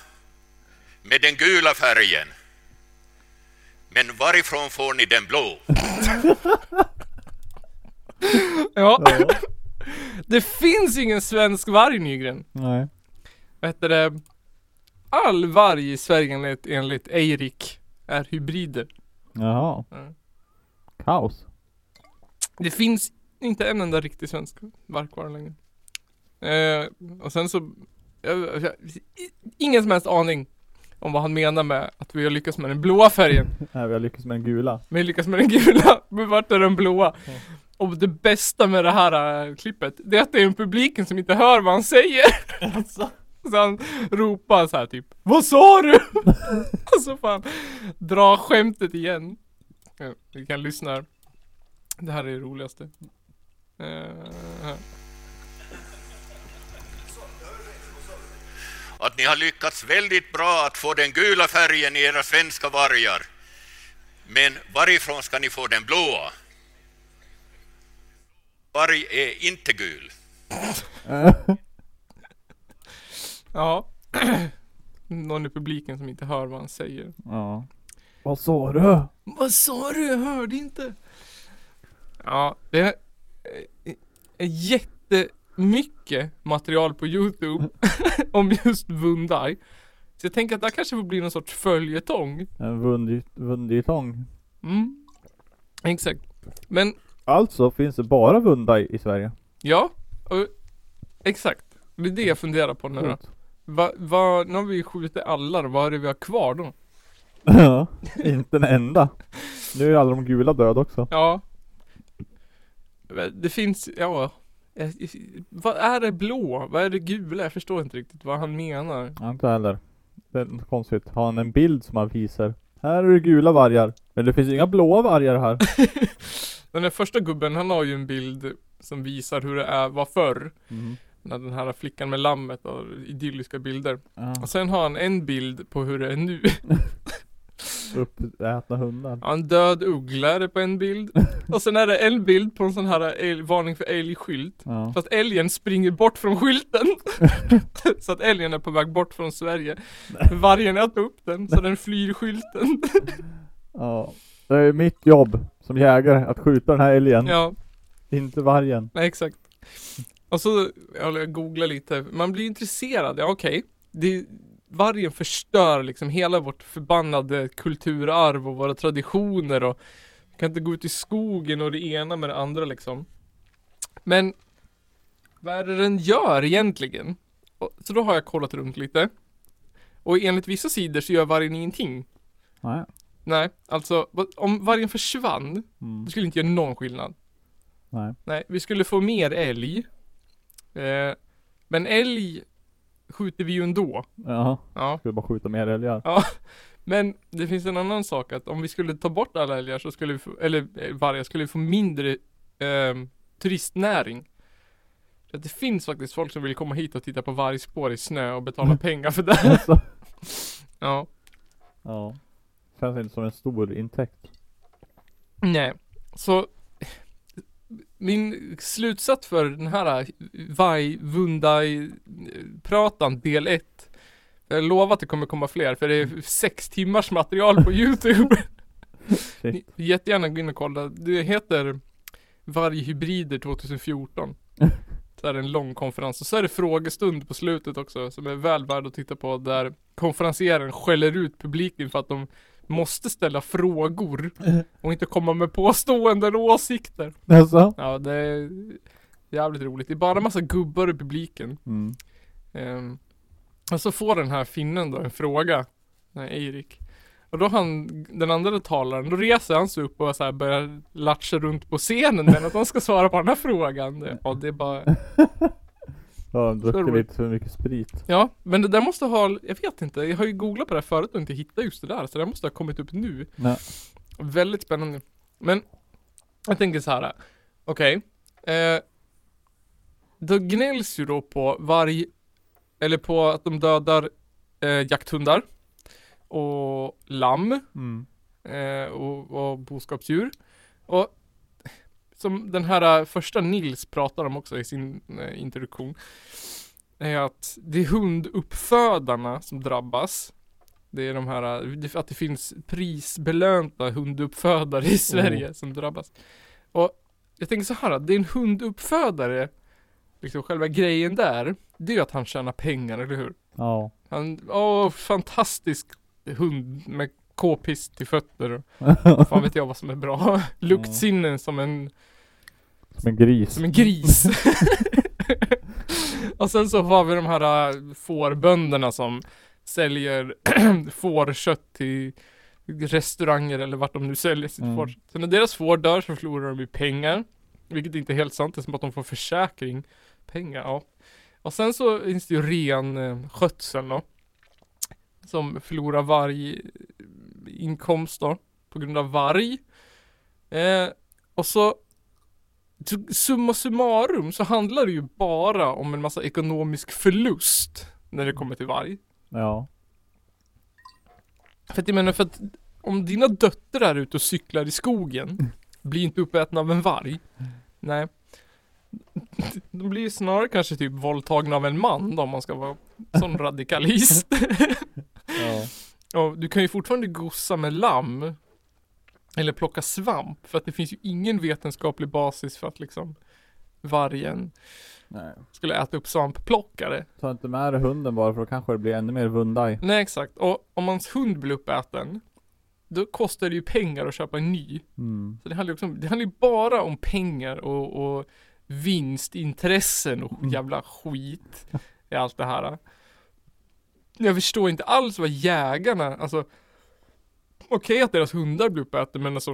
med den gula färgen. Men varifrån får ni den blå?
Ja. [laughs] det finns ingen svensk varg Nygren.
Nej.
Vad heter det? All varg i Sverige enligt, enligt Eirik är hybrider.
Jaha.
Mm.
Kaos.
Det finns inte en enda riktig svensk varg kvar längre. Eh, och sen så, jag, jag, ingen som helst aning om vad han menar med att vi har lyckats med den blåa färgen.
Nej, vi har lyckats med den gula.
Men lyckas med den gula, men vart är den blåa? Och det bästa med det här eh, klippet, det är att det är en publiken som inte hör vad han säger. Så han ropar så här typ Vad sa du? Och så fan dra skämtet igen. Ja, Vi kan lyssna här. Det här är det roligaste. Eh, här.
Att ni har lyckats väldigt bra att få den gula färgen i era svenska vargar. Men varifrån ska ni få den blåa? Varg är inte gul.
ja. [clears throat] Någon i publiken som inte hör vad han säger.
Ja. Vad sa du?
Vad sa du? Jag hörde inte. Ja, det är eh, är jättemycket material på Youtube [laughs] om just Vundai. Så jag tänker att det här kanske får bli någon sorts följetong.
En vunditång.
Mm. Exakt. Men
Alltså finns det bara Vunda i, i Sverige.
Ja, och, exakt. Det är det jag funderar på nu då.
Coolt. [laughs]
Va, va, nu har vi skjutit alla då, vad är det vi har kvar då?
Ja, inte en enda. Nu är ju alla de gula döda också.
Ja. Men Det finns, ja. Eh, Vad är det blå? Vad är det gula? Jag förstår inte riktigt vad han menar.
Ja, inte heller. Det är inte konstigt. Har han en bild som han visar? Här är det gula vargar. Men det finns inga blåa vargar [laughs] här.
Den där första gubben, han har ju en bild som visar hur det är, var förr.
Mm.
När den här flickan med lammet och idylliska bilder.
Ja,
Och sen har han en bild på hur det är nu. [laughs]
uppätna hundar.
Ja, en död uggla är det på en bild. Och sen är det en bild på en sån här älg, varning för älgskylt.
Ja.
Fast älgen springer bort från skylten. så att älgen är på väg bort från Sverige. Vargen äter upp den, så den flyr skylten.
ja. Det är ju mitt jobb som jägare att skjuta den här älgen.
ja,
Inte vargen.
nej exakt. Och så, ja, jag googlar lite. Man blir intresserad, ja okej. Det- Vargen förstör liksom hela vårt förbannade kulturarv och våra traditioner och vi kan inte gå ut i skogen och det ena med det andra liksom. Men vad är det den gör egentligen? Och- Så då har jag kollat runt lite. Och enligt vissa sidor så gör vargen ingenting.
Nej.
Nej, alltså vad- om vargen försvann,
Mm.
det skulle inte göra någon skillnad.
Nej.
Nej, vi skulle få mer älg. Eh, men älg skjuter vi ju ändå.
Ja.
Ja.
Skulle bara skjuta mer
[laughs]
älgar.
ja. Men det finns en annan sak att om vi skulle ta bort alla älgar så skulle vi få, eller eh, vargar, skulle vi få mindre ehm, turistnäring. För Att det finns faktiskt folk som vill komma hit och titta på vargspår i snö och betala pengar för det.
Alltså.
Ja.
Ja. Känns inte som en stor intäkt.
Nej, så min slutsats för den här äh, Vai Vundai pratan del 1 Jag lovar att det kommer komma fler för det är sex timmars material på [laughs] youtube Ni,
Shit.
Jättegärna gå in och kolla, det heter Varghybrider 2014 Så är det en lång konferens och så är det frågestund på slutet också som är väl värd att titta på där konferensieren skäller ut publiken för att de måste ställa frågor och inte komma med påståenden och åsikter.
Alltså.
Ja, det är jävligt roligt. Det är bara massa gubbar i publiken.
Mm.
Ehm, och så får den här finnen då en fråga. Nej, Erik. Och då han, den andra talaren, då reser han sig upp och så här börjar latcha runt på scenen men att han ska svara på den här frågan. Det- Ja, det är bara,
Ja, de druckit
roligt.
lite för mycket sprit.
ja, men det där måste ha, jag vet inte, jag har ju googlat på det här förut och inte hittat just det där så det här måste ha kommit upp nu.
Nej.
Väldigt spännande. Men jag tänker så här. Okej. Eh, då gnälls ju då på varg, eller på att de dödar eh, jakthundar och lamm
Mm.
eh, och, och boskapsdjur. Och som den här eh, första Nils pratar om också i sin eh, introduktion är att det är hunduppfödarna som drabbas. Det är de här, eh, det- att det finns prisbelönta hunduppfödare i Sverige som drabbas. Och jag tänker så här, att det är en hunduppfödare, liksom själva grejen där, det är ju att han tjänar pengar, eller hur? [laughs]
Ja.
Han, åh, fantastisk hund med k-pist till fötter. Fan vet jag vad som är bra. [laughs] Luktsinnen som en,
Som en gris.
som en gris. [laughs] och sen så har vi de här äh, fårbönderna som säljer fårkött till restauranger eller vart de nu säljer sitt
Mm.
fårkött. Så när deras får dör så förlorar de ju pengar. Vilket inte är helt sant, det är som att de får försäkring. Pengar, ja. Och sen så finns det ju ren eh, skötseln då. Som förlorar varje inkomst då. På grund av varg. Eh, och så så summa summarum så handlar det ju bara om en massa ekonomisk förlust när det kommer till varg.
Ja.
För att jag menar för att om dina döttrar är ute och cyklar i skogen, blir inte uppätna av en varg. Nej. De blir ju snarare kanske typ våldtagna av en man då om man ska vara sån radikalist.
Ja.
Ja, du kan ju fortfarande gossa med lamm. Eller plocka svamp. För att det finns ju ingen vetenskaplig basis för att liksom vargen
Nej.
skulle äta upp svampplockare.
Ta inte med dig hunden bara för då kanske det blir ännu mer Vundai.
Nej exakt. Och om hans hund blir uppäten. då kostar det ju pengar att köpa en ny.
Mm.
Så det handlar ju också om, det handlar ju bara om pengar och, och vinstintressen och jävla skit i allt det här. Jag förstår inte alls vad jägarna, alltså okej att deras hundar blir uppätna men alltså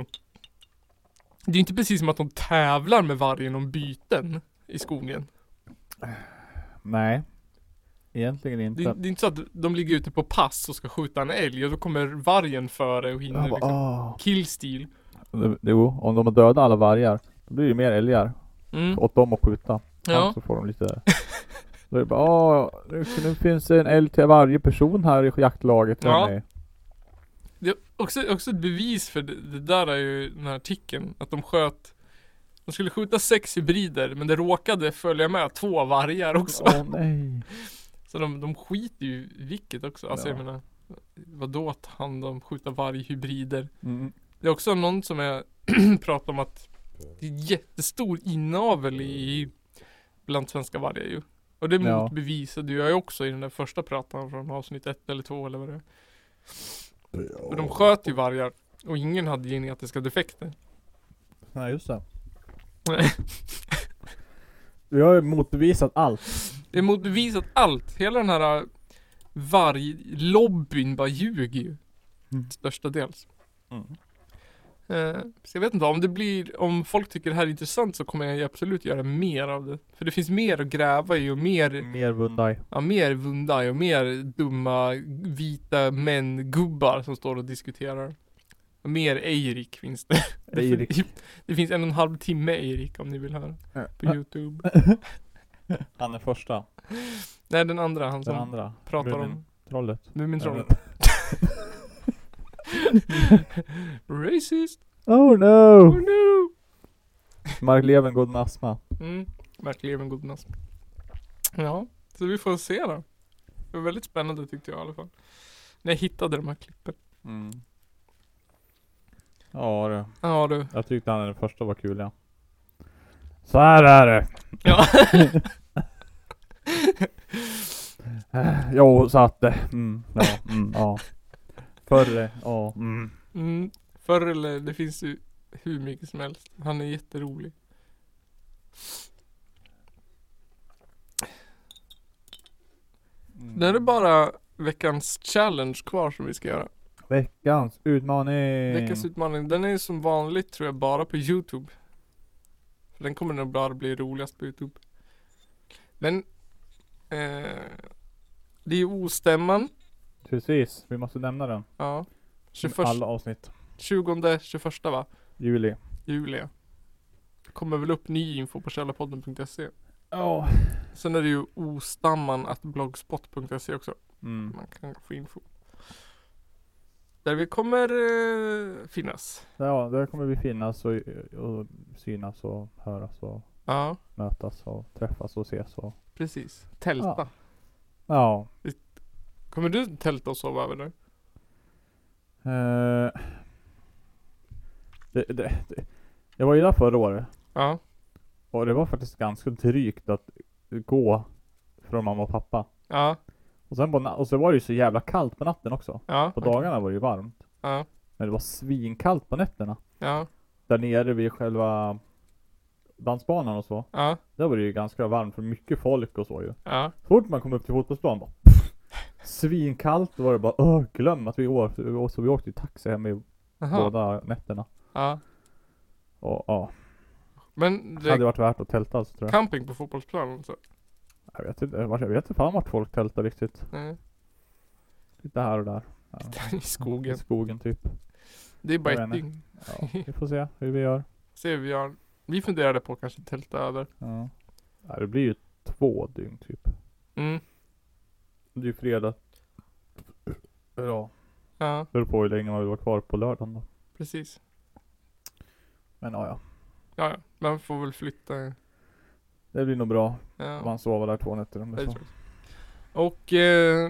det är ju inte precis som att de tävlar med vargen om byten i skogen.
Nej. Egentligen
Det,
inte.
är- det är inte så att de ligger ute på pass och ska skjuta en älg och då kommer vargen före och hinner
Jag bara,
liksom
"Ah."
killstil.
Det- Jo, om de har dödat alla vargar. Då blir det ju mer älgar.
Mm.
Åt dem att skjuta.
Ja.
Så får de lite Då är det bara, "Ah, nu, nu finns det en älg till varje person här i jaktlaget.
Ja.
hörni."
Det är också, också ett bevis för det, det där är ju den här artikeln. Att de sköt De skulle skjuta sex hybrider men det råkade följa med två vargar också.
Åh nej.
Så de, de skiter ju i vilket också. Alltså
Ja.
jag menar Vadå ta hand om skjuta varghybrider?
Mm.
Det är också någon som jag [clears throat] pratar om att Det är jättestor inavel i Bland svenska vargar ju. Och det
Ja.
motbevisade jag ju också i den där första pratan från avsnitt ett eller två eller vad det är. För de sköt ju vargar och ingen hade genetiska defekter.
Nej just
[laughs]
det.
Nej.
Vi har ju motbevisat allt.
Det är motbevisat allt. Hela den här äh, varglobbyn bara ljuger ju.
Mm.
Störstadels.
Mm.
Eh, så jag vet inte om det blir, om folk tycker det här är intressant så kommer jag ju absolut göra mer av det. För det finns mer att gräva i och mer,
Mer Vundai.
ja mer Vundai och mer dumma vita män-gubbar som står och diskuterar. Och mer Eirik finns det.
[laughs] Eirik.
[laughs] Det finns en och en halv timme Eirik om ni vill höra. På youtube.
Han är första.
Nej den andra, han som
Den andra.
pratar om
Trollet.
Mumintrollen. [laughs] Racist!
Oh
Oh
no!
no!
Mark Levengood med astma.
Mm, verkligen en god natt. Ja, så vi får se då. Det var väldigt spännande tyckte jag i alla fall. När jag hittade de här klippen.
Mm. Ja du.
Ja du.
Jag tyckte han den första var kul ja. Så här är det. [laughs]
Ja.
Eh, Jo, så att eh, mm, ja, mm, ja. Förr, eh, ja. Mm.
Mm, förr eller det finns ju hur mycket som helst. Han är jätterolig. Det är bara veckans challenge kvar som vi ska göra.
Veckans utmaning.
Veckans utmaning, den är ju som vanligt tror jag bara på Youtube. För den kommer nog bara bli roligast på Youtube. Men eh, Det är ju ostämman.
Precis, vi måste nämna den.
Ja. 21,
Alla avsnitt.
20, 21 va?
Juli.
Juli. Det kommer väl upp ny info på källarpodden.se.
Ja.
Sen är det ju ostamman att blogspot.se också.
Mm.
Man kan få info. Där vi kommer eh, finnas.
Ja, där kommer vi finnas och, och synas och höras och
Ja,
mötas och träffas och ses och
precis. Tälta.
Ja. Ja.
Kommer du tälta och sova över där?
Eh, det, det, det. Jag var ju där förra året
Ja.
och det var faktiskt ganska drygt att gå från mamma och pappa.
Ja,
Och sen på na- och så var det ju så jävla kallt på natten också.
ja.
På dagarna var det ju varmt.
Ja.
Men det var svinkallt på nätterna.
Ja,
Där nere vid själva dansbanan och så.
ja,
Där var det ju ganska varmt för mycket folk och så ju.
ja.
Så fort man kom upp till fotbollsplanen bara pff, Svinkallt var det bara öh, glöm att vi åkte, så vi åkte ju taxi hem i
Aha.
båda nätterna.
Ja.
Och ja,
Men det
det hade
är
varit värt att tälta alltså tror jag.
camping på fotbollsplanen så.
Jag vet inte, jag vet inte fan vart folk tältar riktigt.
Nej. [laughs]
Lite här och där. Ja.
I skogen.
I skogen typ.
Det är bara
Jag
ett
vet
dygn.
Ja, vi får se hur vi gör.
Se hur vi gör. Vi funderade på att kanske tälta över.
Ja. Ja, det blir ju två dygn typ.
Mm.
Det är ju fredag. Ja.
Ja,
Beror på hur länge man vill vara kvar på lördagen då.
precis.
Men ja, ja.
Ja, ja. Man får väl flytta.
Det blir nog bra.
Ja.
Man sover där två nätter om det
det
är så.
tror jag. Och eh,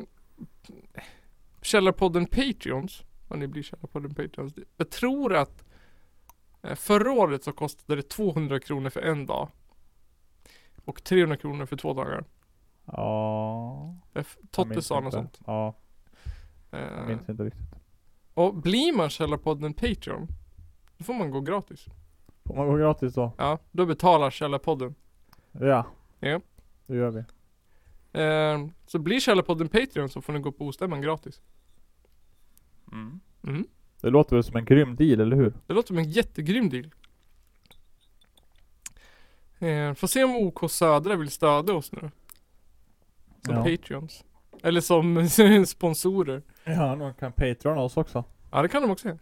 Källarpodden Patreons. Om ni blir Källarpodden Patreons. Jag tror att eh, förra året så kostade det 200 kronor för en dag. Och 300 kronor för två dagar.
Ja.
Jag f-
jag minns
Totte sa något
inte.
sånt.
Ja,
Eh,
jag minns inte riktigt.
Och blir man Källarpodden Patreon, då får man gå gratis.
Får man gå gratis då?
Ja, då betalar Källarpodden.
Ja.
Ja.
Det gör vi.
Eh, så blir Källarpodden Patreon så får ni gå på ostämman gratis.
Mm.
Mm.
Det låter väl som en grym deal, eller hur?
Det låter som en jättegrym deal. Eh, får se om OK Södra vill stödja oss nu. Som
Ja.
Patreons. Eller som [laughs] sponsorer.
Ja, någon kan patrona oss också.
Ja det kan de också göra.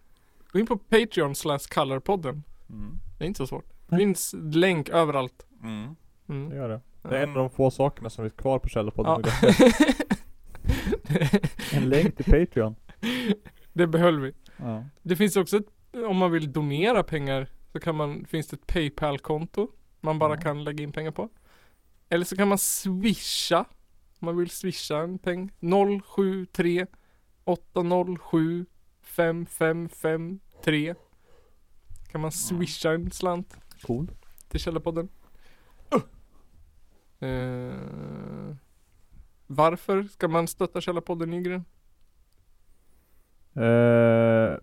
Gå in på Patreon slash kallarpodden.
Mm.
Det är inte så svårt. Det
Nej.
finns länk överallt.
Mm.
Det
Mm.
gör det. Det är en av de få sakerna som är kvar på
Ja.
Källarpodden. Ja. En länk till Patreon.
[laughs] det behöll vi.
Ja.
Det finns också ett, om man vill donera pengar så kan man, finns det ett Paypal-konto man bara
Ja.
kan lägga in pengar på. Eller så kan man swisha. Om man vill swisha en peng. 073 807 5553 Kan man swisha en slant
Cool.
till Källarpodden. Eh, varför ska man stötta Källarpodden Nygren?
Eh,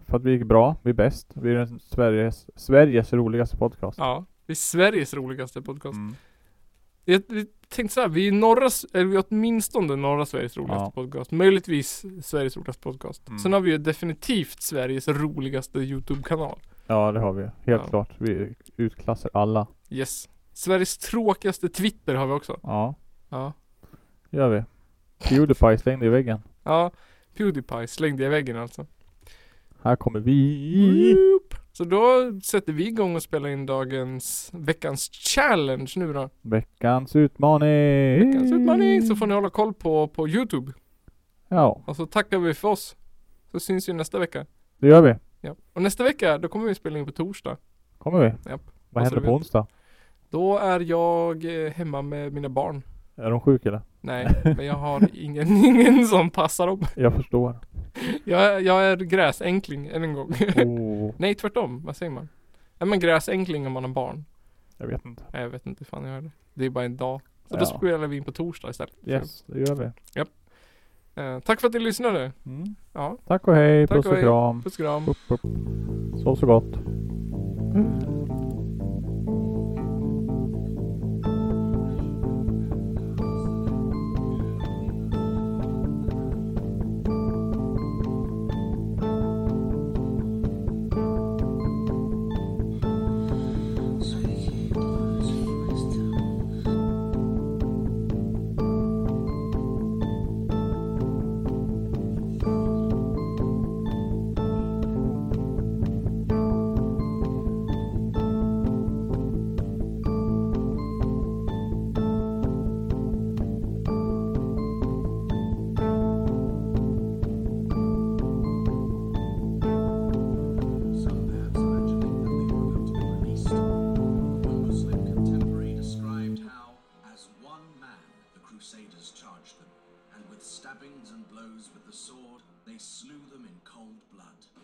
för att vi gick bra, vi är bäst. Vi är den Sveriges, Sveriges roligaste podcast.
Ja, det är Sveriges roligaste podcast.
Mm.
Jag, jag tänkte såhär, vi är norra, S- eller vi är åtminstone norra Sveriges roligaste
Ja.
podcast. Möjligtvis Sveriges roligaste podcast.
Mm.
Sen har vi ju definitivt Sveriges roligaste YouTube-kanal.
Ja, det har vi. Helt
Ja.
klart. Vi utklassar alla.
Yes. Sveriges tråkigaste Twitter har vi också.
Ja,
Ja.
det gör vi. Pewdiepie slängde i väggen.
Ja. Pewdiepie slängde i väggen alltså.
Här kommer vi.
Woop. Så då sätter vi igång och spelar in dagens, veckans challenge nu då.
Veckans utmaning.
Veckans utmaning. Så får ni hålla koll på, på YouTube.
Ja,
Och så tackar vi för oss. Så syns vi nästa vecka.
det gör vi.
Ja. Och nästa vecka, då kommer vi spela in på torsdag.
Kommer vi.
Japp.
Vad
Alltså,
händer på
vi-
onsdag?
Då är jag eh, hemma med mina barn.
Är de sjuka eller?
Nej,
[laughs]
men jag har ingen, [laughs] ingen som passar dem.
Jag
[laughs]
förstår.
Jag, är- jag är gräsänkling än en
[laughs]
gång.
Oh,
Nej, tvärtom. Vad säger man? Är man gräsänkling om man har barn?
jag vet inte.
Nej, jag vet inte fan jag är det. Det är bara en dag. Så
Ja.
då spelar vi in på torsdag istället.
Yes, det gör vi.
Så, eh, tack för att ni lyssnade.
Mm.
Ja,
Tack och hej.
Tack
Puss
och
och
hej.
kram.
puss och kram.
Upp, upp. Sov så gott.
Muslim contemporary described how, as one man, the Crusaders charged them, and with stabbings and blows with the sword, they slew them in cold blood.